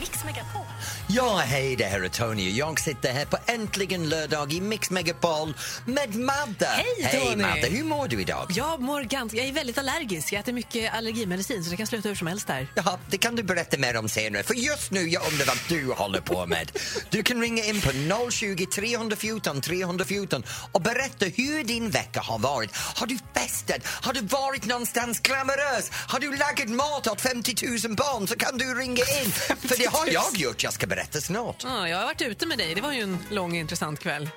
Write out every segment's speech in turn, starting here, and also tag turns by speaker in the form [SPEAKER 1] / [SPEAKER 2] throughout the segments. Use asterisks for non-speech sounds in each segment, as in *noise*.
[SPEAKER 1] Mix Megapol.
[SPEAKER 2] Ja, hej, det här är Tony och jag sitter här på Äntligen lördag i Mix Megapol med Madde.
[SPEAKER 3] Hej, Tony.
[SPEAKER 2] Madde, hur mår du idag?
[SPEAKER 3] Jag mår ganska... Jag är väldigt allergisk. Jag äter mycket allergimedicin så det kan sluta hur som helst där.
[SPEAKER 2] Jaha, det kan du berätta mer om senare, för just nu jag undrar vad du håller på med. Du kan ringa in på 020 314 314 och berätta hur din vecka har varit. Har du festat? Har du varit någonstans glamorös? Har du lagat mat åt 50 000 barn? Så kan du ringa in, för det har jag gjort. Jag ska berätta snart.
[SPEAKER 3] Ja, jag har varit ute med dig. Det var ju en lång intressant kväll.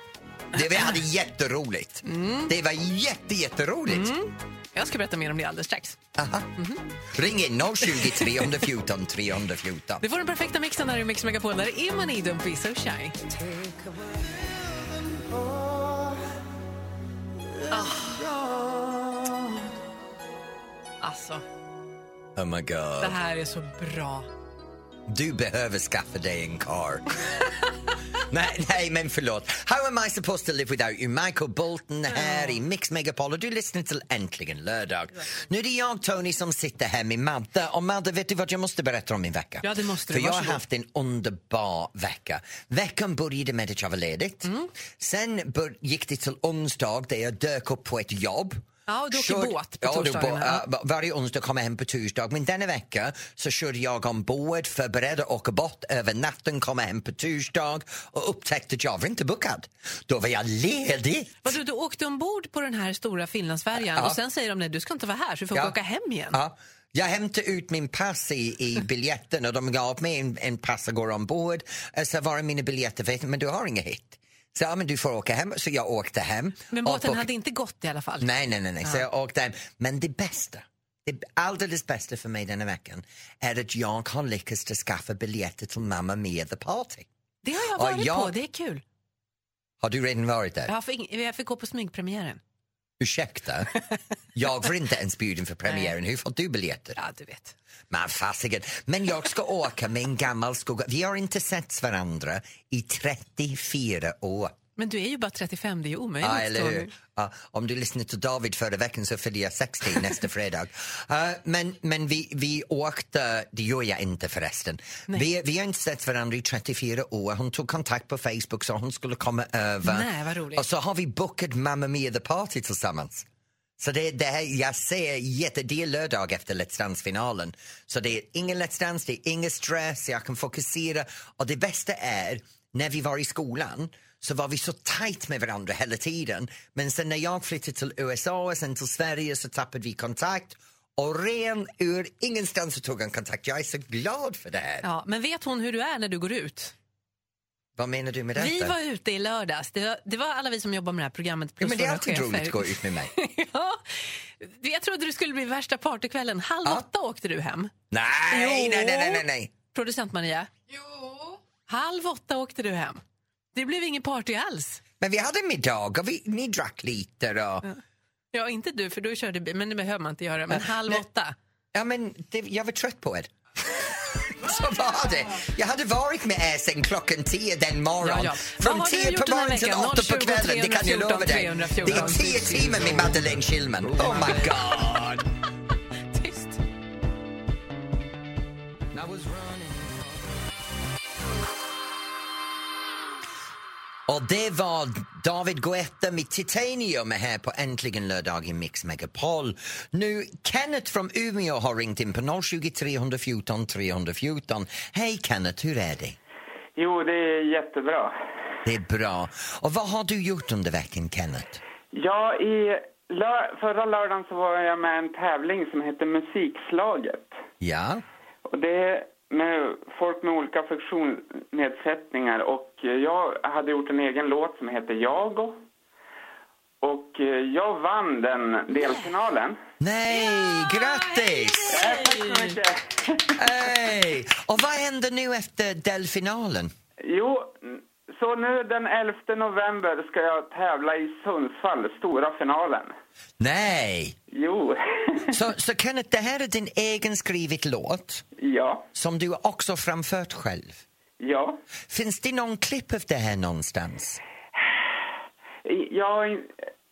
[SPEAKER 2] Det, vi hade jätteroligt. Det var jätte, jätteroligt.
[SPEAKER 3] Jag ska berätta mer om det alldeles strax.
[SPEAKER 2] Aha. Ring in 020 314 314.
[SPEAKER 3] Du får den perfekta mixen här i Mix Megapol. Där är man i Don't Be So Shy. Ah. Alltså,
[SPEAKER 2] Oh my
[SPEAKER 3] det
[SPEAKER 2] god.
[SPEAKER 3] här är så bra.
[SPEAKER 2] Du behöver skaffa dig
[SPEAKER 3] *laughs*
[SPEAKER 2] en car. nej, nej, men förlåt. How am I supposed to live without you? Michael Bolton här i Mix Megapol och du lyssnar till Äntligen lördag. Nu är det jag, Tony, som sitter här med Madde. Och Madde, vet du vad jag måste berätta om min vecka?
[SPEAKER 3] Ja, det måste du.
[SPEAKER 2] För jag har
[SPEAKER 3] Varsågod.
[SPEAKER 2] haft en underbar vecka. Veckan började med att jag var ledigt.
[SPEAKER 3] Mm.
[SPEAKER 2] Sen bör- gick det till onsdag där jag dök upp på ett jobb.
[SPEAKER 3] Ja, och du åker
[SPEAKER 2] Körde-
[SPEAKER 3] båt på
[SPEAKER 2] ja, du
[SPEAKER 3] torsdagarna.
[SPEAKER 2] bå- ja, varje onsdag kommer jag hem på torsdag men denna vecka så körde jag ombord, förberedde att åka bort över natten, kom hem på torsdag och upptäckte att jag var inte bokad. Då var jag ledig.
[SPEAKER 3] Vadå, du åkte ombord på den här stora Finlandsfärjan
[SPEAKER 2] Ja.
[SPEAKER 3] och sen säger de nej, du ska inte vara här så du får
[SPEAKER 2] Ja.
[SPEAKER 3] åka hem igen.
[SPEAKER 2] Ja. Jag hämtade ut min pass i, i biljetten och de gav mig en, en pass och går ombord. Eh, Så var det mina biljetter, vet du, men du har inget hit. Så ja, men du får åka hem. Så jag åkte hem.
[SPEAKER 3] Men
[SPEAKER 2] och
[SPEAKER 3] båten
[SPEAKER 2] bok-
[SPEAKER 3] hade inte gått i alla fall.
[SPEAKER 2] Nej, nej, nej. nej. Så jag åkte hem. Men det bästa, det alldeles bästa för mig denna veckan är att jag har lyckats att skaffa biljetter till Mamma Mia The Party.
[SPEAKER 3] Det har jag
[SPEAKER 2] Ja,
[SPEAKER 3] varit
[SPEAKER 2] jag-
[SPEAKER 3] på, det är kul.
[SPEAKER 2] Har du redan varit där?
[SPEAKER 3] Jag fick, jag fick gå på smygpremiären.
[SPEAKER 2] Ursäkta? Jag var inte ens bjuden för premiären. Hur får du biljetter?
[SPEAKER 3] Ja, du vet.
[SPEAKER 2] Men fasiken. Men jag ska åka med en gammal skugga. Vi har inte sett varandra i 34 år.
[SPEAKER 3] Men du är ju bara 35, det är ju omöjligt.
[SPEAKER 2] Ja, eller
[SPEAKER 3] Tony.
[SPEAKER 2] hur? Ja, om du lyssnade till David förra veckan så fyller jag 60 nästa fredag.
[SPEAKER 3] *laughs*
[SPEAKER 2] Eh, men men vi, vi åkte, det gör jag inte förresten. Vi, vi har inte sett varandra i 34 år. Hon tog kontakt på Facebook så hon skulle komma över.
[SPEAKER 3] Nej, vad roligt.
[SPEAKER 2] Och så har vi bokat Mamma Mia The Party tillsammans. Så det, det här, jag ser jätte, det är lördag efter Let's Dance-finalen. Så det är ingen Let's Dance, det är ingen stress, jag kan fokusera. Och det bästa är, när vi var i skolan så var vi så tajt med varandra hela tiden. Men sen när jag flyttade till USA och sen till Sverige så tappade vi kontakt. Och ren ur ingenstans så tog han kontakt. Jag är så glad för det här.
[SPEAKER 3] Ja, men vet hon hur du är när du går ut?
[SPEAKER 2] Vad menar du med det?
[SPEAKER 3] Vi var ute i lördags. Det var, det var alla vi som jobbar med det här programmet plus
[SPEAKER 2] ja, men det är
[SPEAKER 3] våra
[SPEAKER 2] alltid
[SPEAKER 3] chefer.
[SPEAKER 2] roligt att gå ut med mig.
[SPEAKER 3] *laughs* ja. Jag trodde det skulle bli värsta partykvällen. Halv
[SPEAKER 2] Ja.
[SPEAKER 3] åtta åkte du hem.
[SPEAKER 2] nej, nej, nej, nej, nej, nej.
[SPEAKER 3] Producent Maria? Jo. Halv åtta åkte du hem. Det blev ingen party alls.
[SPEAKER 2] Men vi hade middag och vi, ni drack lite. Och...
[SPEAKER 3] Ja, inte du, för du körde bil, men det behöver man inte göra. Men halv
[SPEAKER 2] Nej.
[SPEAKER 3] åtta.
[SPEAKER 2] Ja, men det, jag var trött på *laughs* er. Så var det. Jag hade varit med er sen klockan tio den
[SPEAKER 3] Ja,
[SPEAKER 2] morgonen.
[SPEAKER 3] ja.
[SPEAKER 2] Från
[SPEAKER 3] Vad har du
[SPEAKER 2] tio
[SPEAKER 3] gjort
[SPEAKER 2] på
[SPEAKER 3] den här
[SPEAKER 2] morgonen till
[SPEAKER 3] veckan?
[SPEAKER 2] åtta på
[SPEAKER 3] 020
[SPEAKER 2] kvällen, det kan jag lova dig.
[SPEAKER 3] 314.
[SPEAKER 2] Det är tio timmar med Madeleine Kilman. Oh my god!
[SPEAKER 3] Tyst.
[SPEAKER 2] Och det var David Guetta med Titanium här på Äntligen lördag i Mix Megapol. Nu, Kenneth från Umeå har ringt in på 020 314 314. Hej Kenneth, hur är det?
[SPEAKER 4] Jo, det är jättebra.
[SPEAKER 2] Det är bra. Och vad har du gjort under veckan, Kenneth?
[SPEAKER 4] Ja, i lör- förra lördagen så var jag med i en tävling som heter Musikslaget.
[SPEAKER 2] Ja,
[SPEAKER 4] Och det är med folk med olika funktionsnedsättningar och eh, jag hade gjort en egen låt som heter Jago. Och eh, jag vann den delfinalen.
[SPEAKER 2] Nej, grattis!
[SPEAKER 4] Ja, tack så mycket.
[SPEAKER 2] Hej! Och vad händer nu efter delfinalen?
[SPEAKER 4] Jo, så nu den 11 november ska jag tävla i Sundsvall, stora finalen.
[SPEAKER 2] Nej!
[SPEAKER 4] Jo, *laughs*
[SPEAKER 2] Så, så Kenneth, det här är din egen skrivit låt
[SPEAKER 4] ja,
[SPEAKER 2] som du också har framfört själv.
[SPEAKER 4] ja.
[SPEAKER 2] Finns det någon klipp av det här någonstans?
[SPEAKER 4] Ja,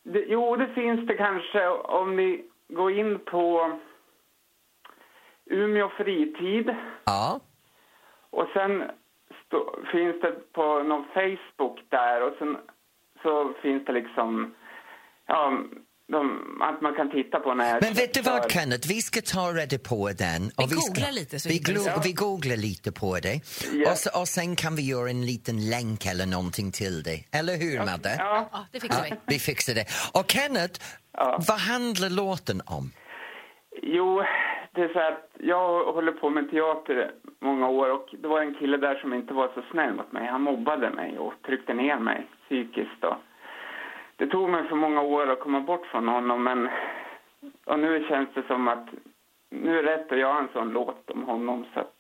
[SPEAKER 4] det, jo, det finns det kanske om ni går in på Umeå fritid.
[SPEAKER 2] Ja.
[SPEAKER 4] Och sen stå, finns det på någon Facebook där och sen så finns det liksom, ja, de, att man kan titta på när jag
[SPEAKER 2] Men vet du vad
[SPEAKER 4] kör.
[SPEAKER 2] Kenneth, vi ska ta reda på den.
[SPEAKER 3] Vi
[SPEAKER 2] ska-
[SPEAKER 3] googlar lite så
[SPEAKER 2] vi,
[SPEAKER 3] hittar vi
[SPEAKER 2] glo-
[SPEAKER 4] sen.
[SPEAKER 2] vi googlar lite på det.
[SPEAKER 4] Ja.
[SPEAKER 2] Och, så, och sen kan vi göra en liten länk eller någonting till det. Eller hur Madde?
[SPEAKER 4] Ja,
[SPEAKER 3] Ja, det fixar vi.
[SPEAKER 2] Ja, vi fixar det. Och Kenneth, vad handlar låten om?
[SPEAKER 4] jo, det är så här att jag håller på med teater många år och det var en kille där som inte var så snäll mot mig. Han mobbade mig och tryckte ner mig psykiskt då. Det tog mig för många år att komma bort från honom men och nu känns det som att nu är det rätt att göra en sån låt om honom så att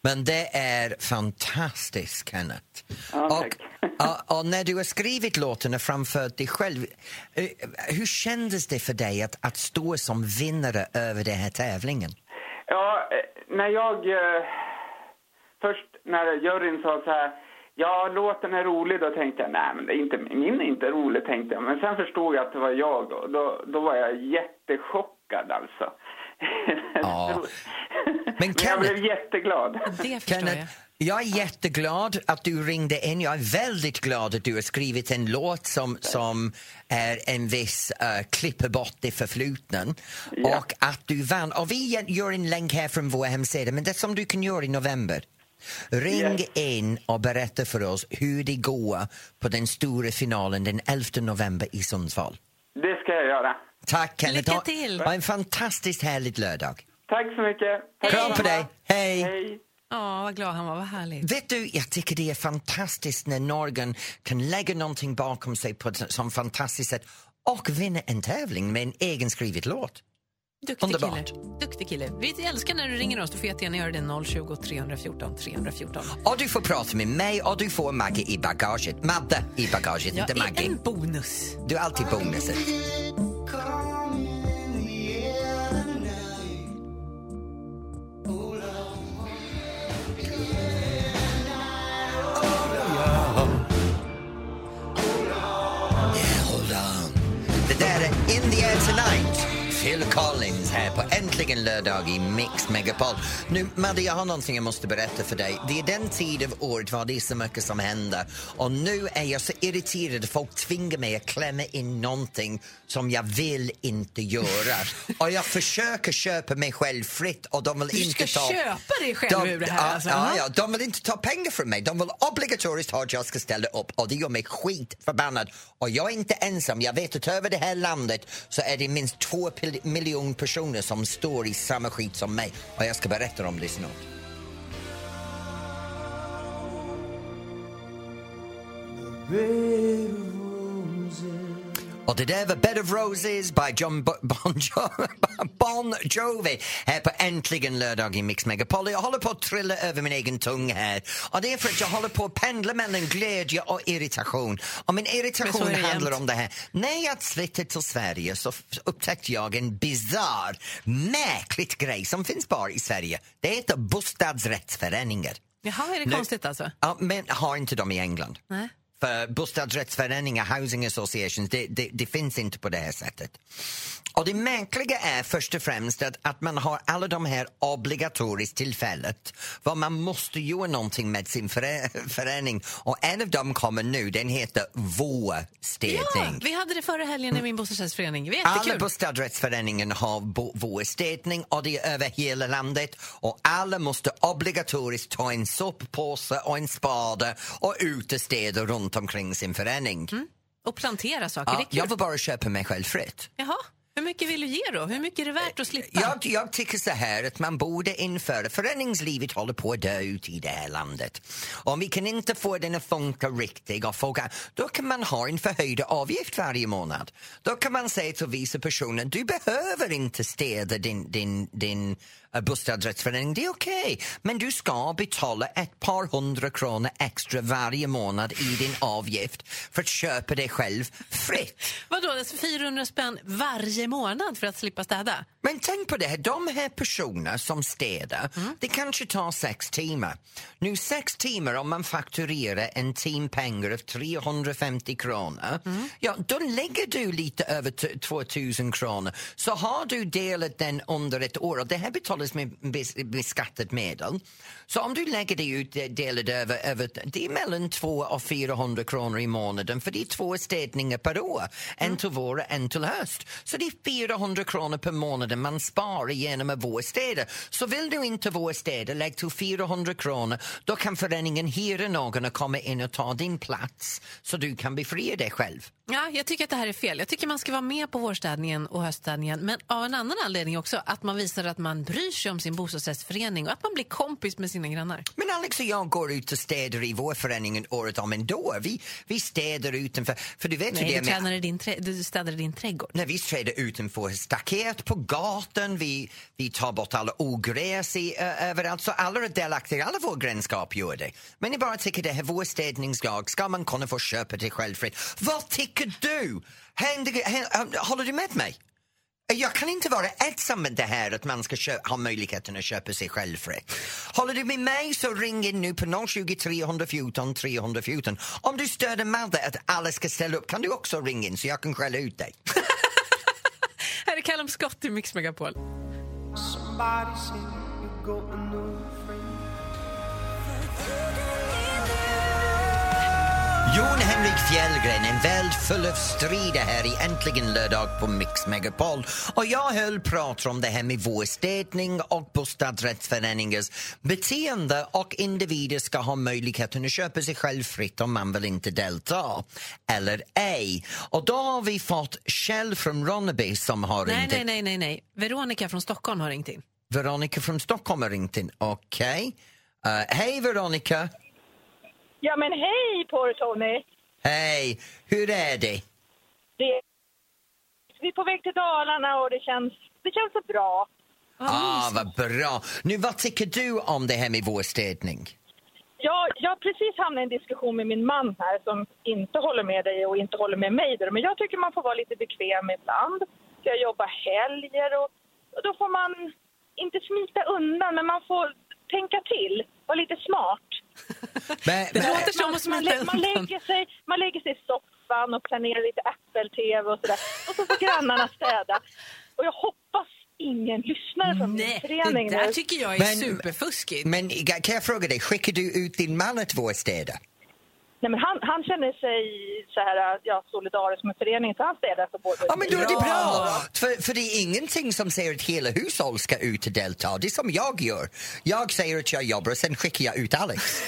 [SPEAKER 2] Men det är fantastiskt, Kenneth.
[SPEAKER 4] Ja,
[SPEAKER 2] och,
[SPEAKER 4] tack.
[SPEAKER 2] *laughs* och, och när du har skrivit låten och framfört dig själv, eh, hur kändes det för dig att, att stå som vinnare över den här tävlingen?
[SPEAKER 4] Ja, eh, när jag... Eh, först när juryn sa så här... Ja, låten är rolig. Då tänkte jag, nej, men det är inte, min är inte rolig, tänkte jag. Men sen förstod jag att det var jag och då, då var jag jättechockad alltså.
[SPEAKER 2] Ja.
[SPEAKER 4] *laughs* men
[SPEAKER 2] Kenneth-
[SPEAKER 4] jag blev jätteglad.
[SPEAKER 3] Det förstår
[SPEAKER 2] Kenneth,
[SPEAKER 3] jag.
[SPEAKER 2] jag är jätteglad att du ringde in. Jag är väldigt glad att du har skrivit en låt som, som är en viss uh, klipper bort det förflutna.
[SPEAKER 4] Ja.
[SPEAKER 2] Och att du vann. Och vi gör en länk här från vår hemsida, men det som du kan göra i november. Ring
[SPEAKER 4] Yes.
[SPEAKER 2] in och berätta för oss hur det går på den stora finalen den 11 november i Sundsvall.
[SPEAKER 4] Det ska jag göra.
[SPEAKER 2] Tack Kenneth.
[SPEAKER 3] Lycka
[SPEAKER 2] Ha-
[SPEAKER 3] till.
[SPEAKER 2] Ha en fantastiskt härlig lördag.
[SPEAKER 4] Tack så mycket. Tack
[SPEAKER 2] Kram på
[SPEAKER 4] detsamma.
[SPEAKER 2] dig. Hej.
[SPEAKER 4] Hej.
[SPEAKER 3] Ja, vad glad han var. Vad härligt.
[SPEAKER 2] Vet du, jag tycker det är fantastiskt när Norgen kan lägga någonting bakom sig på ett sånt fantastiskt sätt och vinna en tävling med en egen skrivet låt.
[SPEAKER 3] Duktig
[SPEAKER 2] Underbart.
[SPEAKER 3] kille. Duktig kille. Vi älskar när du ringer oss. Du får jättegärna göra det 020 314 314.
[SPEAKER 2] Och du får prata med mig och du får Maggie i bagaget. Madde i bagaget,
[SPEAKER 3] Jag
[SPEAKER 2] inte
[SPEAKER 3] är
[SPEAKER 2] Maggie.
[SPEAKER 3] en bonus.
[SPEAKER 2] Du är alltid bonusen. Hold on. Det där är In the air tonight. Phil Collins här på Äntligen lördag i Mix Megapol. Nu, Madde, jag har någonting jag måste berätta för dig. Det är den tid av året var det är så mycket som händer och nu är jag så irriterad att folk tvingar mig att klämma in någonting som jag vill inte göra. och jag försöker köpa mig själv fritt och de vill
[SPEAKER 3] Du
[SPEAKER 2] inte
[SPEAKER 3] ska
[SPEAKER 2] ta...
[SPEAKER 3] köpa dig själv ur det här.
[SPEAKER 2] ja,
[SPEAKER 3] alltså.
[SPEAKER 2] ja,
[SPEAKER 3] Aha.
[SPEAKER 2] ja, de vill inte ta pengar från mig. De vill obligatoriskt ha att jag ska ställa upp och det gör mig skitförbannad. Och jag är inte ensam. Jag vet att över det här landet så är det minst två pil- miljoner personer som står i samma skit som mig. Och jag ska berätta om det snart. Och det där var Bed of Roses by John Bo- *laughs* Bon, jo- bon Jovi här på Äntligen lördag i Mix Megapol. Jag håller på att trilla över min egen tung här och det är för att jag håller på att pendla mellan glädje och irritation. Och min irritation
[SPEAKER 3] Men så är det
[SPEAKER 2] handlar
[SPEAKER 3] jämt.
[SPEAKER 2] om det här. När jag flyttade till Sverige så f- upptäckte jag en bizarr, märkligt grej som finns bara i Sverige. Det heter bostadsrättsföreningar.
[SPEAKER 3] Jaha, är det
[SPEAKER 2] Nu-
[SPEAKER 3] konstigt alltså?
[SPEAKER 2] Ja, men har inte de i England?
[SPEAKER 3] Nej.
[SPEAKER 2] För bostadsrättsföreningar, housing associations, det, det, det finns inte på det här sättet. Och det märkliga är först och främst att, att man har alla de här obligatoriskt tillfället vad man måste göra någonting med sin före- förening och en av dem kommer nu, den heter vårstädning.
[SPEAKER 3] Ja, vi hade det förra helgen i min bostadsrättsförening. Det var
[SPEAKER 2] Alla
[SPEAKER 3] jättekul.
[SPEAKER 2] bostadsrättsföreningen har bo- vårstädning och det är över hela landet och alla måste obligatoriskt ta en soppåse och en spade och ut och städa runt omkring sin förening.
[SPEAKER 3] Och plantera saker,
[SPEAKER 2] Ja,
[SPEAKER 3] det är
[SPEAKER 2] jag
[SPEAKER 3] kul.
[SPEAKER 2] vill bara köpa mig själv fritt.
[SPEAKER 3] Jaha, hur mycket vill du ge då? Hur mycket är det värt att slippa?
[SPEAKER 2] Jag, jag tycker så här att man borde införa, föreningslivet håller på att dö ut i det här landet. Om vi kan inte få den att funka riktigt, och funka, då kan man ha en förhöjd avgift varje månad. Då kan man säga till vissa personer, du behöver inte städa din, din, din eh, bostadsrättsförening, det är okej. Men du ska betala ett par hundra kronor extra varje månad i din avgift för att köpa dig själv fritt.
[SPEAKER 3] Vadå, alltså 400 spänn varje månad för att slippa städa?
[SPEAKER 2] Men tänk på det här, de här personerna som städar, det kanske tar sex timmar. Nu sex timmar om man fakturerar en timpengar av 350 kronor, ja då lägger du lite över t- 2000 kronor. Så har du delat den under ett år, och det här betalas med bes- beskattat medel. Så om du lägger det ut, eh, delar över, över, det är mellan 200 och 400 kronor i månaden för det är två städningar per år. En
[SPEAKER 3] Mm.
[SPEAKER 2] till vår och en till höst. Så det är 400 kronor per månad man sparar genom att vårstäda. Så vill du inte vårstäda, lägg till 400 kronor. Då kan föreningen hyra någon att komma in och ta din plats så du kan befria dig själv.
[SPEAKER 3] Ja, jag tycker att det här är fel. Jag tycker man ska vara med på vårstädningen och höststädningen. Men av en annan anledning också. Att man visar att man bryr sig om sin bostadsrättsförening och att man blir kompis med sina grannar.
[SPEAKER 2] Men Alex och jag går ut och städar i vår förening året om ändå. Vi, vi städar utanför. För du vet hur
[SPEAKER 3] Nej,
[SPEAKER 2] det är
[SPEAKER 3] du,
[SPEAKER 2] med
[SPEAKER 3] tränar i din trä- du städar i din trädgård.
[SPEAKER 2] när vi träder utanför staket, på gatan, vi, vi tar bort alla ogräs i, ö- överallt. Så alla är delaktiga, alla vår grannskap gör det. Men jag bara tycker det här, vår städningslag, ska man kunna få köpa det självfritt? Vad tycker du? Händer, hä- håller du med mig? Jag kan inte vara ensam med det här att man ska kö- ha möjligheten att köpa sig själv fritt. Håller du med mig så ring in nu på 020 314 314. Om du stöder Madde att alla ska ställa upp kan du också ringa in så jag kan skälla ut dig.
[SPEAKER 3] Här är Callum Scott i Mix Megapol.
[SPEAKER 5] Somebody said you're going over.
[SPEAKER 2] Jon Henrik Fjällgren, en värld full av strider här i Äntligen lördag på Mix Megapol. Och jag höll prat om det här med vårstädning och bostadsrättsföreningars beteende och individer ska ha möjligheten att köpa sig själv fritt om man vill inte delta, eller ej. Och då har vi fått Kjell från Ronneby som har
[SPEAKER 3] Nej,
[SPEAKER 2] ringt in.
[SPEAKER 3] nej, nej, nej, nej. Veronica från Stockholm har ringt in.
[SPEAKER 2] Veronica från Stockholm har ringt in. Okej. Eh, hej Veronica!
[SPEAKER 6] Ja men hej på er, Tony!
[SPEAKER 2] Hej! Hur är det?
[SPEAKER 6] Det... Vi är på väg till Dalarna och det känns, det känns så bra.
[SPEAKER 2] Ah, vad bra! Nu, vad tycker du om det här med vårstädning?
[SPEAKER 6] Jag, jag har precis hamnat i en diskussion med min man här som inte håller med dig och inte håller med mig. Där. Men jag tycker man får vara lite bekväm ibland. För jag jobbar helger och, och då får man inte smita undan men man får tänka till, vara lite smart.
[SPEAKER 2] Men,
[SPEAKER 3] Det
[SPEAKER 2] men,
[SPEAKER 3] låter som
[SPEAKER 6] man,
[SPEAKER 3] att
[SPEAKER 6] man,
[SPEAKER 3] smita
[SPEAKER 6] lä- man,
[SPEAKER 3] undan.
[SPEAKER 6] lägger sig, man lägger sig i soffan och planerar lite Apple-tv och sådär. Och så får grannarna städa. Och jag hoppas ingen lyssnar från min
[SPEAKER 3] Nej,
[SPEAKER 6] förening
[SPEAKER 3] det där
[SPEAKER 6] nu.
[SPEAKER 3] tycker jag är
[SPEAKER 2] Men-
[SPEAKER 3] superfuskigt.
[SPEAKER 2] men kan jag fråga dig, skickar du ut din man att vårstäda?
[SPEAKER 6] Nej, men han, han känner sig så här, ja, solidarisk med föreningen så han städar för både
[SPEAKER 2] Ja, men då är det bra!
[SPEAKER 3] Bra.
[SPEAKER 2] För, för det är ingenting som säger att hela hushållet ska ut och delta. Det är som jag gör. Jag säger att jag jobbar och sen skickar jag ut Alex.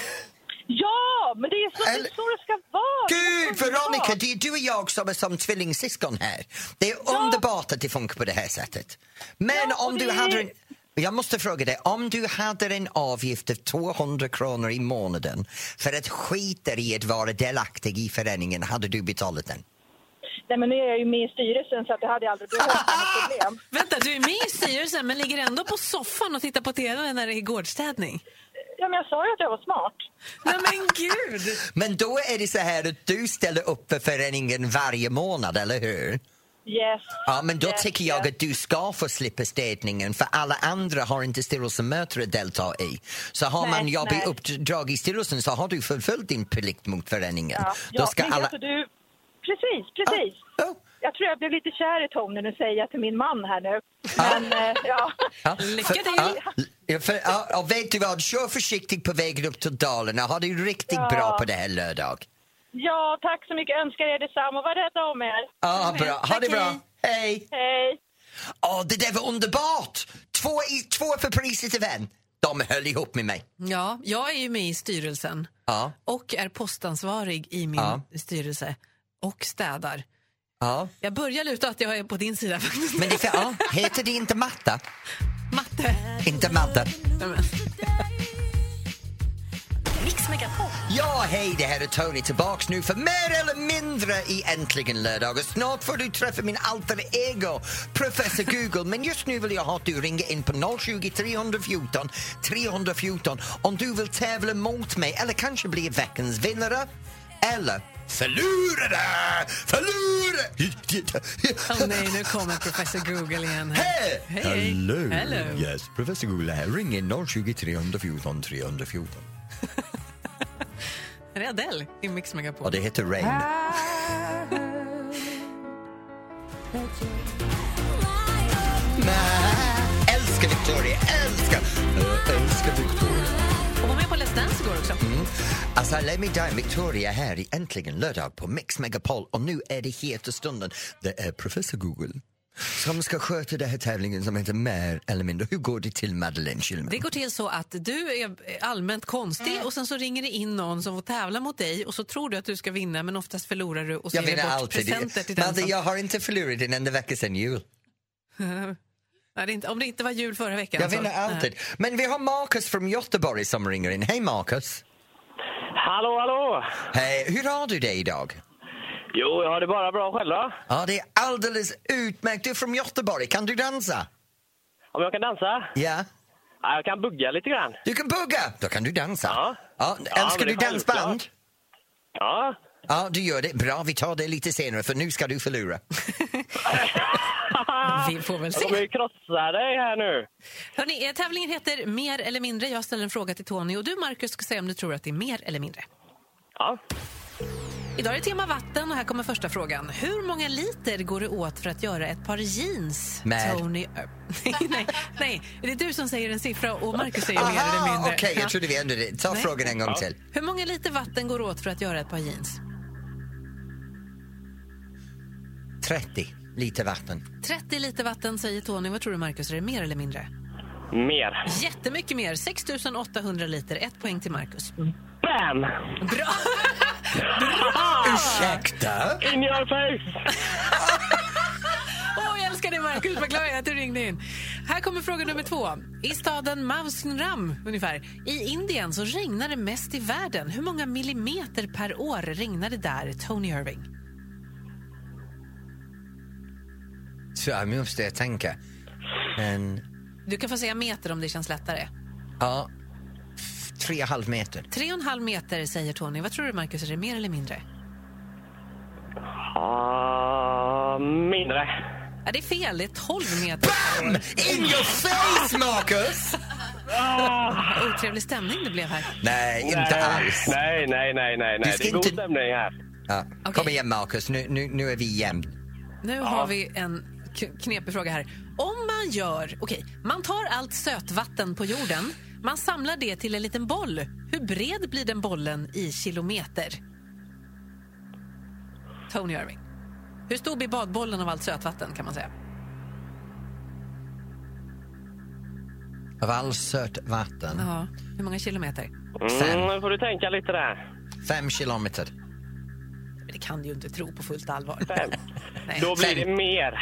[SPEAKER 6] Ja, men det är så,
[SPEAKER 2] Eller-
[SPEAKER 6] det, är så det ska vara!
[SPEAKER 2] Gud,
[SPEAKER 6] Det är
[SPEAKER 2] Veronica,
[SPEAKER 6] underbart.
[SPEAKER 2] det är du och jag som är som tvillingsyskon här. Det är underbart att det funkar på det här sättet. Men
[SPEAKER 6] Ja, och
[SPEAKER 2] om du
[SPEAKER 6] det är-
[SPEAKER 2] hade en... Jag måste fråga dig, om du hade en avgift av 200 kronor i månaden för att skita i att vara delaktig i föreningen, hade du betalat den?
[SPEAKER 6] Nej, men nu är jag ju med i styrelsen så att det hade jag aldrig behövt något problem.
[SPEAKER 3] Vänta, du är med i styrelsen men ligger ändå på soffan och tittar på TV när det är gårdsstädning.
[SPEAKER 6] Ja, men jag sa ju att jag var smart.
[SPEAKER 3] Nej men gud!
[SPEAKER 2] Men då är det så här att du ställer upp för föreningen varje månad, eller hur?
[SPEAKER 6] Yes.
[SPEAKER 2] Ja, men då
[SPEAKER 6] yes,
[SPEAKER 2] tycker jag
[SPEAKER 6] yes.
[SPEAKER 2] att du ska få slippa städningen för alla andra har inte styrelsemöten att delta i. Så har
[SPEAKER 6] Nej,
[SPEAKER 2] man jobbig
[SPEAKER 6] nej.
[SPEAKER 2] uppdrag i styrelsen så har du förföljt din plikt mot föreningen.
[SPEAKER 6] Ja,
[SPEAKER 2] Då
[SPEAKER 6] ja,
[SPEAKER 2] ska
[SPEAKER 6] men
[SPEAKER 2] alla...
[SPEAKER 6] alltså, du... Precis, precis.
[SPEAKER 2] Ja,
[SPEAKER 6] Jag tror jag blev lite kär i Tony, nu säger jag till min man här nu. Men eh, ja,
[SPEAKER 2] ja.
[SPEAKER 3] Lycka
[SPEAKER 2] För-
[SPEAKER 3] till!
[SPEAKER 2] ja, ja, för- ja, och vet du vad, kör försiktigt på vägen upp till Dalarna. Ha det riktigt
[SPEAKER 6] Ja.
[SPEAKER 2] bra på det här lördag.
[SPEAKER 6] ja tack så mycket. Önskar er detsamma. Var rädda om er.
[SPEAKER 2] Ja, bra. Ha
[SPEAKER 3] Tack,
[SPEAKER 2] det bra. Hej!
[SPEAKER 6] Hej.
[SPEAKER 2] Ja, det där var underbart! Två, i, två för priset av en. De höll ihop med mig.
[SPEAKER 3] Ja, jag är ju med i styrelsen
[SPEAKER 2] Ja,
[SPEAKER 3] och är postansvarig i min
[SPEAKER 2] Ja.
[SPEAKER 3] styrelse och städar.
[SPEAKER 2] ja.
[SPEAKER 3] Jag börjar luta att jag är på din sida faktiskt.
[SPEAKER 2] Men det, är för- ja, heter det inte matta?
[SPEAKER 3] *laughs* Matte.
[SPEAKER 2] Inte matta.
[SPEAKER 3] Nej, men.
[SPEAKER 1] Mix Megapol.
[SPEAKER 2] Ja, hej, det här är Tony tillbaks nu för mer eller mindre i Äntligen lördag och snart får du träffa min alter ego, professor Google. Men just nu vill jag ha att du ringer in på 020 314 314 om du vill tävla mot mig eller kanske bli veckans vinnare. Eller förlorade! Förlorade!
[SPEAKER 3] Åh nej, nu kommer professor Google igen. här.
[SPEAKER 2] Hej!
[SPEAKER 3] Hej, hej.
[SPEAKER 2] Hello.
[SPEAKER 3] Hello.
[SPEAKER 2] Yes, professor Google här. Ring in 020 314 314.
[SPEAKER 3] Är det Adele i Mix Megapol?
[SPEAKER 2] Och det heter Rain. Älskar Victoria, älskar! Jag älskar Victoria.
[SPEAKER 3] Hon var med på Let's Dance igår också.
[SPEAKER 2] Alltså, let me die Victoria här i Äntligen lördag på Mix Megapol och nu är det heta stunden. Det är professor Google som ska sköta den här tävlingen som heter Mer eller mindre. Hur går det till Madeleine Kilman?
[SPEAKER 3] Det går till så att du är allmänt
[SPEAKER 2] Mm.
[SPEAKER 3] konstig och sen så ringer det in någon som får tävla mot dig och så tror du att du ska vinna men oftast förlorar du och så
[SPEAKER 2] Jag
[SPEAKER 3] ger du
[SPEAKER 2] vinner
[SPEAKER 3] bort
[SPEAKER 2] alltid.
[SPEAKER 3] presenter till den
[SPEAKER 2] Madde,
[SPEAKER 3] som...
[SPEAKER 2] jag har inte förlorat en enda vecka sedan jul.
[SPEAKER 3] Nej, det är inte, om det inte var jul förra veckan.
[SPEAKER 2] Jag
[SPEAKER 3] så-
[SPEAKER 2] vinner
[SPEAKER 3] Alltså, Nej.
[SPEAKER 2] alltid. Men vi har Marcus från Göteborg som ringer in. Hej Marcus!
[SPEAKER 7] Hallå, hallå!
[SPEAKER 2] Hej, hur har du det idag?
[SPEAKER 7] Jo, jag har det bara bra själva.
[SPEAKER 2] Ja, det är alldeles utmärkt. Du är från Göteborg, kan du dansa?
[SPEAKER 7] Om jag kan dansa?
[SPEAKER 2] Ja.
[SPEAKER 7] Ja, jag kan bugga lite grann.
[SPEAKER 2] Du kan bugga, då kan du dansa.
[SPEAKER 7] Ja.
[SPEAKER 2] Ja,
[SPEAKER 7] Ja,
[SPEAKER 2] älskar
[SPEAKER 7] men
[SPEAKER 2] du
[SPEAKER 7] det är självklart.
[SPEAKER 2] dansband?
[SPEAKER 7] Ja.
[SPEAKER 2] Ja, du gör det. Bra, vi tar det lite senare för nu ska du förlora.
[SPEAKER 3] Vi får väl
[SPEAKER 7] Jag kommer
[SPEAKER 3] se.
[SPEAKER 7] ju krossa dig här nu.
[SPEAKER 3] Hörrni, eh, tävlingen heter Mer eller mindre. Jag ställer en fråga till Tony och du, Marcus, ska säga om du tror att det är mer eller mindre.
[SPEAKER 7] Ja.
[SPEAKER 3] Idag är tema vatten och här kommer första frågan. Hur många liter går det åt för att göra ett par jeans?
[SPEAKER 2] Med.
[SPEAKER 3] Tony... *laughs* Ö- nej, nej, nej, det är du som säger en siffra och Marcus säger mer eller
[SPEAKER 2] Aha,
[SPEAKER 3] mindre.
[SPEAKER 2] Ah, okej,
[SPEAKER 3] Ja.
[SPEAKER 2] jag trodde vi ändrade det. Ta
[SPEAKER 3] Nej.
[SPEAKER 2] frågan en gång
[SPEAKER 7] Ja.
[SPEAKER 2] till.
[SPEAKER 3] Hur många liter vatten går åt för att göra ett par jeans?
[SPEAKER 2] 30 liter vatten.
[SPEAKER 3] 30 liter vatten säger Tony. Vad tror du Marcus? Är det mer eller mindre?
[SPEAKER 7] Mer.
[SPEAKER 3] Jättemycket mer. 6 800 liter. Ett poäng till Marcus.
[SPEAKER 7] Bam!
[SPEAKER 3] Bra!
[SPEAKER 7] Ah.
[SPEAKER 2] Ursäkta?
[SPEAKER 7] In your face!
[SPEAKER 3] Åh, jag älskar dig Marcus. Vad glad jag är att du ringde in. Här kommer fråga nummer två. I staden Mausunram, ungefär, i Indien så regnar det mest i världen. Hur många millimeter per år regnar det där, Tony Irving?
[SPEAKER 2] Så jag måste tänka. En,
[SPEAKER 3] Du kan få säga meter om det känns lättare.
[SPEAKER 2] ja, f- tre och en halv meter.
[SPEAKER 3] 3,5 meter säger Tony. Vad tror du Marcus, är det mer eller mindre?
[SPEAKER 7] Ah, mindre.
[SPEAKER 3] Ja, det är fel, det är 12 meter.
[SPEAKER 2] Bam! In your face, Marcus!
[SPEAKER 7] Ah,
[SPEAKER 3] Vad Otrevlig stämning det blev här.
[SPEAKER 2] Nej, inte alls.
[SPEAKER 7] Nej, nej, nej, nej.
[SPEAKER 2] Du
[SPEAKER 7] nej.
[SPEAKER 2] ska
[SPEAKER 7] Det är god
[SPEAKER 2] inte-
[SPEAKER 7] stämning här.
[SPEAKER 2] Ja.
[SPEAKER 3] Okej.
[SPEAKER 2] Kom igen, Marcus. Nu, nu, nu är vi jämn.
[SPEAKER 3] Nu har vi en k- knepig fråga här. Om man gör... Okej, man tar allt sötvatten på jorden. Man samlar det till en liten boll. Hur bred blir den bollen i kilometer? Tony Irving. Hur stor blir badbollen av allt sötvatten kan man säga?
[SPEAKER 2] Av all sört vatten.
[SPEAKER 3] Ja, hur många kilometer?
[SPEAKER 2] Fem.
[SPEAKER 7] Mm, nu får du tänka lite där.
[SPEAKER 2] Fem kilometer.
[SPEAKER 3] Men Det kan du ju inte tro på fullt allvar.
[SPEAKER 7] Fem.
[SPEAKER 3] Nej.
[SPEAKER 7] Då blir
[SPEAKER 2] Fem.
[SPEAKER 7] det mer.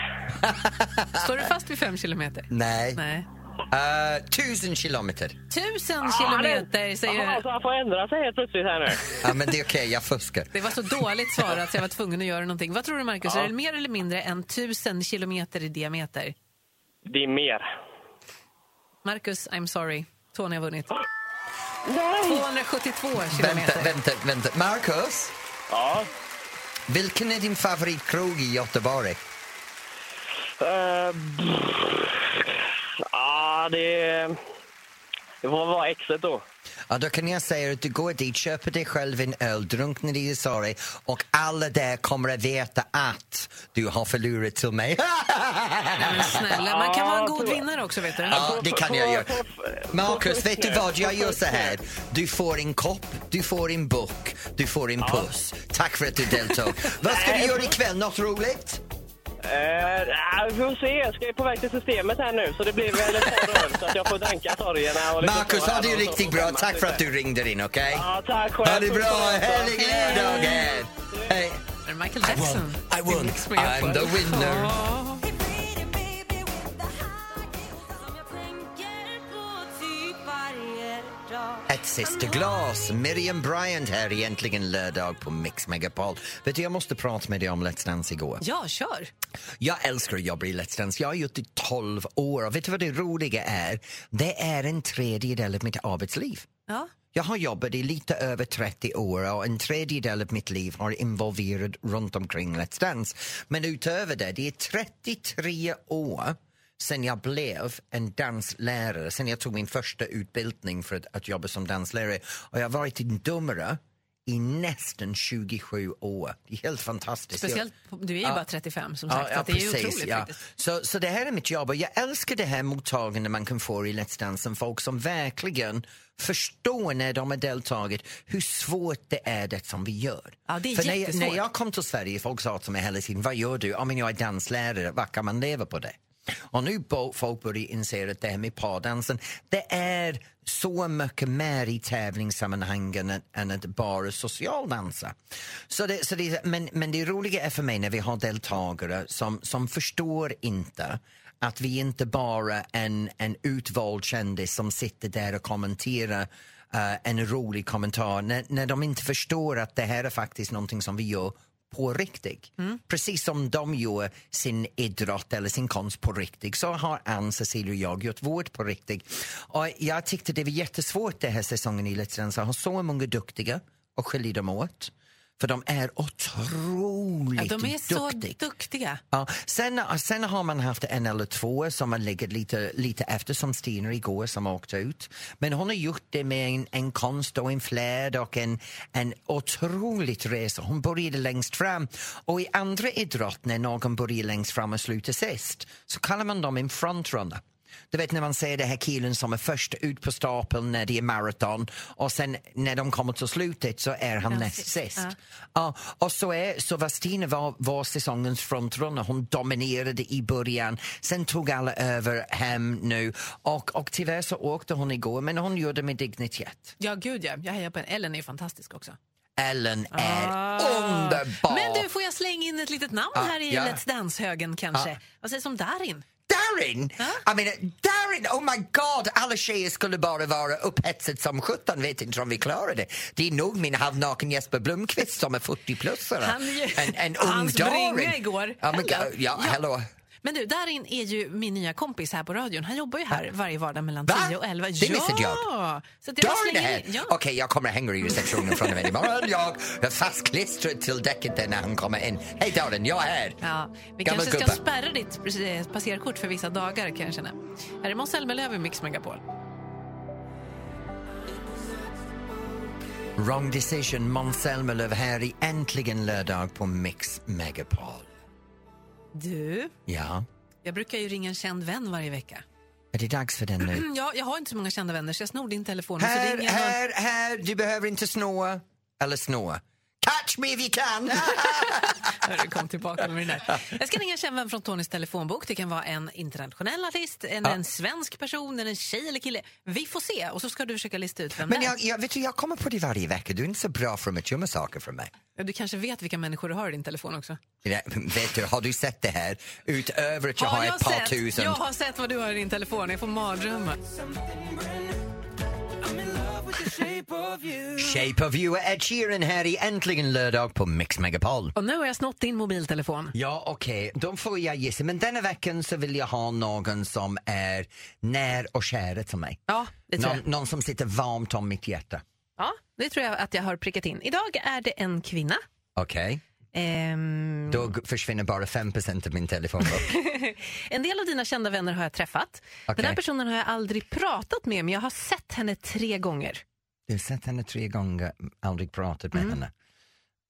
[SPEAKER 3] Står du fast vid fem kilometer?
[SPEAKER 2] Nej.
[SPEAKER 3] Nej.
[SPEAKER 2] Eh, tusen kilometer.
[SPEAKER 3] Tusen
[SPEAKER 7] Ah, det-
[SPEAKER 3] kilometer säger
[SPEAKER 7] Jaha, så han får ändra sig helt plötsligt här nu.
[SPEAKER 2] Ja, men det är okej, jag fuskar.
[SPEAKER 3] Det var så dåligt svarat så jag var tvungen att göra någonting. Vad tror du Marcus, är det mer eller mindre än 1000 kilometer i diameter?
[SPEAKER 7] Det är mer.
[SPEAKER 3] Marcus, I'm sorry. Tony har vunnit. 272
[SPEAKER 2] Vänta,
[SPEAKER 3] kilometer.
[SPEAKER 2] vänta, vänta. Marcus,
[SPEAKER 7] Ja.
[SPEAKER 2] vilken är din favoritkrog i Göteborg?
[SPEAKER 7] Eh, Ja, det... Det får vara exet då.
[SPEAKER 2] Ja, då kan jag säga att du går dit, köper dig själv en öl, drunknar i sorg och alla där kommer att veta att du har förlorat till mig. *laughs*
[SPEAKER 3] Men snälla, man kan vara en
[SPEAKER 7] Ja,
[SPEAKER 3] god
[SPEAKER 7] tror jag.
[SPEAKER 3] vinnare också vet du.
[SPEAKER 2] Ja, det kan jag göra. Marcus, vet du vad? Jag gör så här. Du får en kopp, du får en bok, du får en puss. Tack för att du
[SPEAKER 7] *laughs*
[SPEAKER 2] deltog. Vad ska du göra ikväll? Något roligt?
[SPEAKER 7] Eh, ja, vi får se. Jag ska ju på väg till systemet här nu så det blir väl ett par öl så att jag får danka sorgerna. och lite
[SPEAKER 2] Marcus,
[SPEAKER 7] så
[SPEAKER 2] ha
[SPEAKER 7] här
[SPEAKER 2] det
[SPEAKER 7] och så
[SPEAKER 2] riktigt
[SPEAKER 7] får
[SPEAKER 2] bra.
[SPEAKER 7] skämmas
[SPEAKER 2] Tack för att
[SPEAKER 7] lite.
[SPEAKER 2] du ringde in, okej?
[SPEAKER 7] Ja, tack själv.
[SPEAKER 2] Ha det
[SPEAKER 7] Puss på
[SPEAKER 2] bra,
[SPEAKER 7] er.
[SPEAKER 2] härlig lördag! Hej!
[SPEAKER 3] Men Michael Jackson.
[SPEAKER 2] I won,
[SPEAKER 7] liksom
[SPEAKER 3] Mix Megapol.
[SPEAKER 2] I'm the winner! Ett sista glas. Miriam Bryant här egentligen lördag på Mix Megapol. Vet du, jag måste prata med dig om Let's Dance igår.
[SPEAKER 3] Ja, kör.
[SPEAKER 2] Jag älskar att jobba i Let's Dance. Jag har gjort det i 12 år och vet du vad det roliga är? Det är en tredjedel av mitt arbetsliv.
[SPEAKER 3] Ja.
[SPEAKER 2] Jag har jobbat i lite över 30 år och en tredjedel av mitt liv har involverat runt omkring Let's Dance. Men utöver det, det är 33 år sen jag blev en danslärare, sen jag tog min första utbildning för att, att jobba som danslärare. Och jag har varit en domare i nästan 27 år. Det är helt fantastiskt. Jag-
[SPEAKER 3] Speciellt, du är ju bara 35 som sagt, så att det är ju otroligt faktiskt.
[SPEAKER 2] så, så det här är mitt jobb och jag älskar det här mottagandet man kan få i Let's Dance som folk som verkligen förstår när de har deltagit hur svårt det är det som vi gör.
[SPEAKER 3] Ja, det är
[SPEAKER 2] För när, jag-
[SPEAKER 3] jättesvårt.
[SPEAKER 2] när jag kom till Sverige, folk sa till mig hela tiden, vad gör du? Ja, men jag är danslärare, vad kan man leva på det? Och nu bo- folk börjar inse att det här med pardansen, det är så mycket mer i tävlingssammanhangen än- än att bara socialdansa. Så det, så det, men, men det roliga är för mig när vi har deltagare som, som förstår inte att vi inte bara en, en utvald kändis som sitter där och kommenterar eh, en rolig kommentar när, när de inte förstår att det här är faktiskt någonting som vi gör på riktigt.
[SPEAKER 3] Mm.
[SPEAKER 2] Precis som de gör sin idrott eller sin konst på riktigt så har Ann, Cecilia och jag gjort vårt på riktigt. Och jag tyckte det var jättesvårt den här säsongen i Let's Dance. Jag har så många duktiga och skiljer dem åt. För de är
[SPEAKER 3] Ja,
[SPEAKER 2] otroligt
[SPEAKER 3] de är så
[SPEAKER 2] duktiga.
[SPEAKER 3] duktiga.
[SPEAKER 2] Ja, sen, sen har man haft en eller två som har legat lite, lite efter, som Stina igår som åkte ut. Men hon har gjort det med en, en konst och en flärd och en, en otroligt resa. Hon började längst fram. Och i andra idrott, när någon börjar längst fram och slutar sist, så kallar man dem en frontrunner. Du vet när man ser det här killen som är först ut på stapeln när det är maraton och sen när de kommer till slutet så är han näst
[SPEAKER 3] sist.
[SPEAKER 2] sist. Ja, och så, är, så var Stina var, var säsongens frontrunner. Hon dominerade i början, sen tog alla över hem nu och, och tyvärr så åkte hon igår men hon gjorde med dignitet.
[SPEAKER 3] Ja, gud ja. Jag hejar på henne. Ellen är ju fantastisk också.
[SPEAKER 2] Ellen är
[SPEAKER 3] Ah.
[SPEAKER 2] underbar!
[SPEAKER 3] Men du, får jag slänga in ett litet namn här i
[SPEAKER 2] ja.
[SPEAKER 3] Let's Dance-högen kanske? Vad sägs om Darin?
[SPEAKER 2] Darin! Jag menar, Darin! Oh my god! Alla tjejer skulle bara vara upphetsade som sjutton. Vet inte om vi klarar det. Det är nog min halvnaken Jesper Blomqvist som är 40-plussare.
[SPEAKER 3] Han ju-
[SPEAKER 2] En, en ung
[SPEAKER 3] Hans
[SPEAKER 2] Darin.
[SPEAKER 3] bringa igår.
[SPEAKER 2] Ja, men,
[SPEAKER 3] Hello.
[SPEAKER 2] ja, hello.
[SPEAKER 3] Men du, Darin är ju min nya kompis här på radion. Han jobbar ju här varje vardag mellan
[SPEAKER 2] Va?
[SPEAKER 3] 10 och 11.
[SPEAKER 2] Det är mitt jobb.
[SPEAKER 3] ja! Så att jag
[SPEAKER 2] Darin är
[SPEAKER 3] slänger
[SPEAKER 2] här!
[SPEAKER 3] in... Ja.
[SPEAKER 2] Okej, jag kommer att hänga i receptionen från och med imorgon. Jag är fastklistrad till däcket där när han kommer in. Hej Darin, jag är här!
[SPEAKER 3] Ja, vi
[SPEAKER 2] Gammal
[SPEAKER 3] kanske ska
[SPEAKER 2] gubbe.
[SPEAKER 3] spärra ditt eh, passerkort för vissa dagar kan jag känna. Här är Måns Zelmerlöw i Mix Megapol.
[SPEAKER 2] Wrong decision, Måns Zelmerlöw här i Äntligen lördag på Mix Megapol.
[SPEAKER 3] Du,
[SPEAKER 2] Ja,
[SPEAKER 3] jag brukar ju ringa en känd vän varje vecka.
[SPEAKER 2] är det dags för den nu?
[SPEAKER 3] Mm, Ja, jag har inte så många kända vänner så jag snor din telefon. och så
[SPEAKER 2] Här,
[SPEAKER 3] ringer *laughs* jag någon.
[SPEAKER 2] här, här, du behöver inte snåa. Eller snåa. Catch me if you can!
[SPEAKER 3] Hörru, kom tillbaka med den här. Jag ska ringa en känd vän från Tonys telefonbok. Det kan vara en internationell artist, en, en svensk person, en tjej eller kille. Vi får se och så ska du försöka lista ut vem
[SPEAKER 2] *laughs* Men
[SPEAKER 3] det är.
[SPEAKER 2] jag, jag, vet du, jag kommer på det varje vecka. Du är inte så bra för att gömma saker från mig.
[SPEAKER 3] Ja, Du kanske vet vilka människor du har i din telefon också?
[SPEAKER 2] Nej, Vet du, har du sett det här? Utöver att jag har ett par
[SPEAKER 3] sett?
[SPEAKER 2] tusen...
[SPEAKER 3] Jag har sett vad du har i din telefon. Jag får mardrömmar.
[SPEAKER 2] Shape of you, Ed Sheeran här i Äntligen lördag på Mix Megapol.
[SPEAKER 3] Och nu har jag snott din mobiltelefon.
[SPEAKER 2] Ja, okej, då får jag gissa. Men denna veckan så vill jag ha någon som är när och kära till mig.
[SPEAKER 3] Ja, det tror
[SPEAKER 2] Någon,
[SPEAKER 3] jag.
[SPEAKER 2] någon som sitter varmt om mitt hjärta.
[SPEAKER 3] Ja, det tror jag att jag har prickat in. Idag är det en kvinna.
[SPEAKER 2] Okej,
[SPEAKER 3] Ehm,
[SPEAKER 2] då g- försvinner bara 5 av min telefonbok.
[SPEAKER 3] en del av dina kända vänner har jag träffat. Den här
[SPEAKER 2] Okej.
[SPEAKER 3] personen har jag aldrig pratat med, men jag har sett henne tre gånger.
[SPEAKER 2] Du har sett henne tre gånger, aldrig pratat med henne.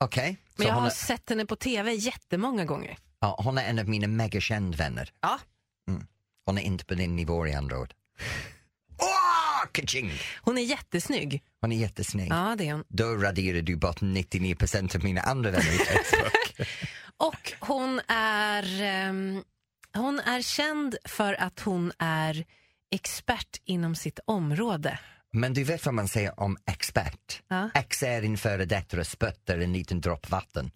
[SPEAKER 2] Okej,
[SPEAKER 3] Mm. Men
[SPEAKER 2] så
[SPEAKER 3] jag
[SPEAKER 2] hon,
[SPEAKER 3] har
[SPEAKER 2] är,
[SPEAKER 3] sett henne på tv jättemånga gånger.
[SPEAKER 2] ja, hon är en av mina megakänd vänner.
[SPEAKER 3] Ja.
[SPEAKER 2] Hon är inte på din nivå i andra ord. Åh, kaching!
[SPEAKER 3] Hon är jättesnygg.
[SPEAKER 2] Hon är jättesnygg.
[SPEAKER 3] Ja, det är hon.
[SPEAKER 2] Då raderar du bort 99 av mina andra vänner
[SPEAKER 3] *laughs*
[SPEAKER 2] i Facebook.
[SPEAKER 3] Och hon är, ehm, hon är känd för att hon är expert inom sitt område.
[SPEAKER 2] Men du vet vad man säger om expert?
[SPEAKER 3] Ja.
[SPEAKER 2] Ex är en före detta och spötter en liten dropp vatten.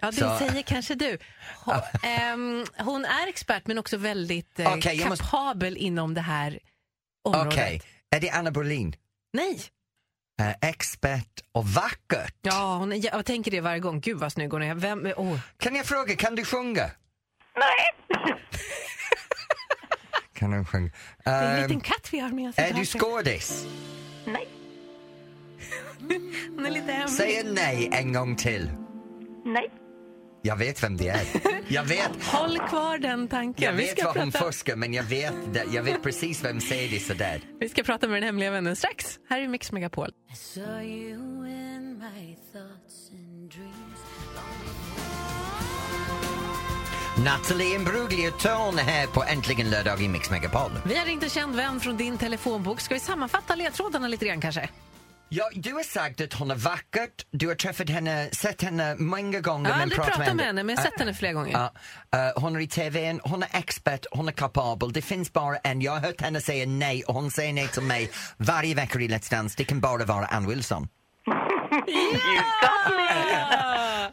[SPEAKER 3] Ja, det
[SPEAKER 2] Så-
[SPEAKER 3] säger kanske du. Hon, *laughs* ehm, hon är expert men också väldigt eh,
[SPEAKER 2] Okej, jag måste-
[SPEAKER 3] kapabel inom det här området.
[SPEAKER 2] Okej, är det Anna Brolin?
[SPEAKER 3] Nej.
[SPEAKER 2] Eh, expert och vackert.
[SPEAKER 3] Ja, hon är, jag tänker det varje gång. Gud vad snygg hon är. Vem, oh.
[SPEAKER 2] Kan jag fråga, kan du sjunga?
[SPEAKER 8] Nej.
[SPEAKER 2] Kan hon sjunga?
[SPEAKER 3] Det är en liten
[SPEAKER 2] Ehm,
[SPEAKER 3] katt vi har med oss. i
[SPEAKER 2] är du
[SPEAKER 3] taket.
[SPEAKER 2] skådis?
[SPEAKER 8] Nej.
[SPEAKER 3] Den är lite hemlig.
[SPEAKER 2] Säg nej en gång till.
[SPEAKER 8] Nej.
[SPEAKER 2] Jag vet vem det är.
[SPEAKER 3] *laughs*
[SPEAKER 2] Jag vet,
[SPEAKER 3] Håll kvar den tanken.
[SPEAKER 2] jag
[SPEAKER 3] vi,
[SPEAKER 2] vet
[SPEAKER 3] ska
[SPEAKER 2] vad hon
[SPEAKER 3] prata,
[SPEAKER 2] fuskar men jag vet, det, jag vet precis vem Sadis är där.
[SPEAKER 3] vi ska prata med den hemliga vännen strax. Här är Mix Megapol.
[SPEAKER 2] Nathalie Imbruglia Törn här på Äntligen lördag i Mix Megapol.
[SPEAKER 3] Vi har ringt en känd vän från din telefonbok. Ska vi sammanfatta ledtrådarna lite grann kanske?
[SPEAKER 2] Ja, du har sagt att hon är vacker, du har träffat henne, sett henne många gånger.
[SPEAKER 3] Jag har
[SPEAKER 2] men
[SPEAKER 3] aldrig
[SPEAKER 2] pratat
[SPEAKER 3] pratat med henne, Ah. men jag har sett henne flera gånger.
[SPEAKER 2] Ja, eh, hon är i tvn, hon är expert, hon är kapabel. Det finns bara en. Jag har hört henne säga nej och hon säger nej till mig varje vecka i Let's Dance. Det kan bara vara Ann Wilson.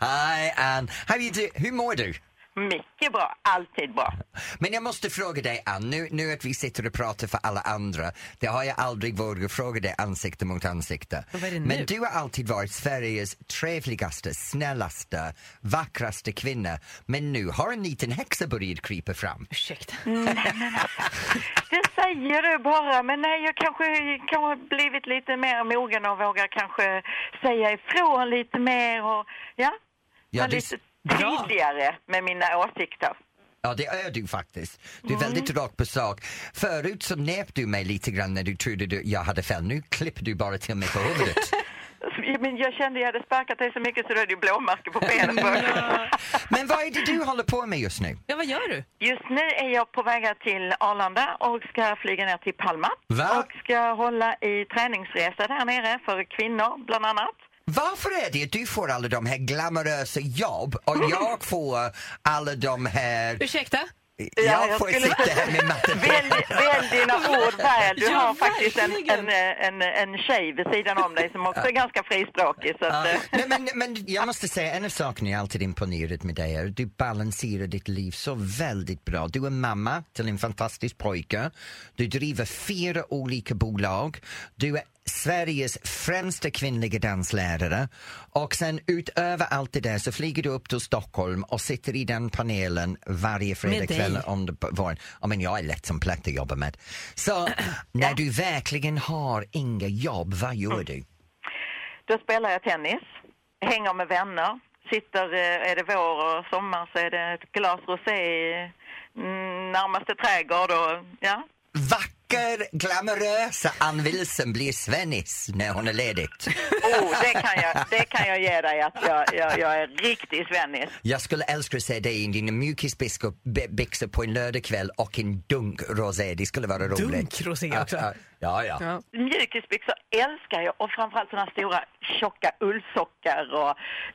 [SPEAKER 2] Hi Ann, how you do? hur mår du?
[SPEAKER 8] Mycket bra. Alltid bra.
[SPEAKER 2] Men jag måste fråga dig Ann, nu, nu att vi sitter och pratar för alla andra, det har jag aldrig vågat fråga dig ansikte mot ansikte.
[SPEAKER 3] Och vad är det nu?
[SPEAKER 2] Men du har alltid varit Sveriges trevligaste, snällaste, vackraste kvinna. Men nu har en liten häxa börjat krypa fram.
[SPEAKER 3] Ursäkta.
[SPEAKER 8] Det säger du bara, men nej, jag kanske, kanske har blivit lite mer mogen och vågar kanske säga ifrån lite mer och ja,
[SPEAKER 2] Ja,
[SPEAKER 8] vara
[SPEAKER 2] det-
[SPEAKER 8] lite
[SPEAKER 3] Bra.
[SPEAKER 8] tydligare med mina åsikter.
[SPEAKER 2] Ja, det är du faktiskt. Du
[SPEAKER 3] Mm.
[SPEAKER 2] är väldigt rakt på sak. Förut så nep du mig lite grann när du trodde du, jag hade fel. Nu klipper du bara till mig
[SPEAKER 3] *laughs*
[SPEAKER 2] på huvudet.
[SPEAKER 8] Men jag kände jag hade sparkat dig så mycket så då är det ju blåmärken på benen.
[SPEAKER 2] *laughs* Men vad är det du håller på med just nu?
[SPEAKER 3] Ja, vad gör du?
[SPEAKER 8] Just nu är jag på väg till Arlanda och ska flyga ner till Palma.
[SPEAKER 2] Va?
[SPEAKER 8] Och ska hålla i träningsresa där nere för kvinnor bland annat.
[SPEAKER 2] Varför är det att du får alla de här glamorösa jobb och jag får alla de här...
[SPEAKER 3] Ursäkta?
[SPEAKER 8] Ja,
[SPEAKER 2] Jag
[SPEAKER 8] jag
[SPEAKER 2] får
[SPEAKER 8] skulle-
[SPEAKER 2] sitta här med matten.
[SPEAKER 8] Välj, välj dina ord väl. Du
[SPEAKER 3] Ja,
[SPEAKER 8] har faktiskt en,
[SPEAKER 3] verkligen.
[SPEAKER 8] en, eh, en, en tjej vid sidan om dig som också är ganska frispråkig. Så att,
[SPEAKER 2] Ja.
[SPEAKER 8] eh,
[SPEAKER 2] Nej, men, men jag måste säga, en av sakerna jag alltid imponerat med dig är att du balanserar ditt liv så väldigt bra. Du är mamma till en fantastisk pojke. Du driver fyra olika bolag. Du är Sveriges främsta kvinnliga danslärare och sen utöver allt det där så flyger du upp till Stockholm och sitter i den panelen varje fredagkväll
[SPEAKER 3] dig.
[SPEAKER 2] under p- våren. Ja, men jag är lätt som plätt att jobba med.
[SPEAKER 8] *clears throat*
[SPEAKER 2] Så när du verkligen har inga jobb, vad gör
[SPEAKER 8] Mm.
[SPEAKER 2] du?
[SPEAKER 8] då spelar jag tennis, hänger med vänner, sitter, eh, är det vår och sommar så är det ett glas rosé i mm, närmaste trädgård och ja.
[SPEAKER 2] Vacker, glamorösa Ann Wilson blir Svennis när hon är ledigt.
[SPEAKER 8] Oh, det kan jag, det kan jag ge dig att jag, jag, jag är riktig svennis.
[SPEAKER 2] Jag skulle älska att se dig i dina mjukisbyxor på en lördagkväll och en dunk rosé. Det skulle vara roligt.
[SPEAKER 3] Dunk rosé också.
[SPEAKER 2] Ja, ja. ja.
[SPEAKER 3] Ja.
[SPEAKER 8] Mjukisbyxor älskar jag och framförallt sådana stora tjocka ullsockar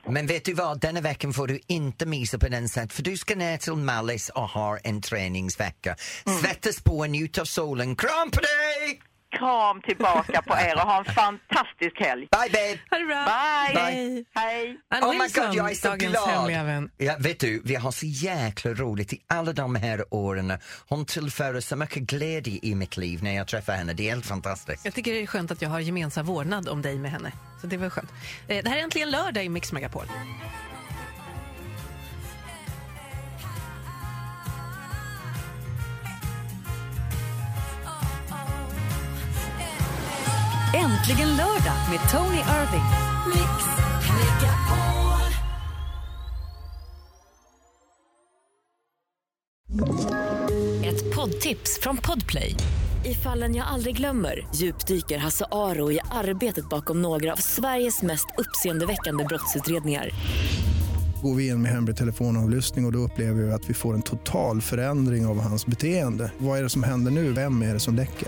[SPEAKER 8] och
[SPEAKER 2] Men vet du vad, denna veckan får du inte missa på den sätt för du ska ner till Mallis och ha en träningsvecka. Svettas på, njut av solen. Kram på dig!
[SPEAKER 8] kram tillbaka på er och ha en fantastisk helg.
[SPEAKER 2] Bye babe!
[SPEAKER 3] Ha det bra.
[SPEAKER 8] Bye!
[SPEAKER 2] Bye.
[SPEAKER 8] Hej!
[SPEAKER 3] Ann
[SPEAKER 2] Oh
[SPEAKER 3] Wilson, dagens hemliga vän.
[SPEAKER 2] Ja, vet du, vi har så jäkla roligt i alla de här åren. Hon tillför så mycket glädje i mitt liv när jag träffar henne. Det är helt fantastiskt.
[SPEAKER 3] Jag tycker det är skönt att jag har gemensam vårdnad om dig med henne. Så det var skönt. Eh, Det här är äntligen lördag i Mix Megapol.
[SPEAKER 1] Äntligen lördag med Tony Irving. Mix Megapol. Ett poddtips från Podplay.
[SPEAKER 9] I fallen jag aldrig glömmer djupdyker Hasse Aro i arbetet bakom några av Sveriges mest uppseendeväckande brottsutredningar.
[SPEAKER 10] Går vi in med hemlig telefonavlyssning och, och då upplever vi att vi får en total förändring av hans beteende. Vad är det som händer nu? Vem är det som läcker?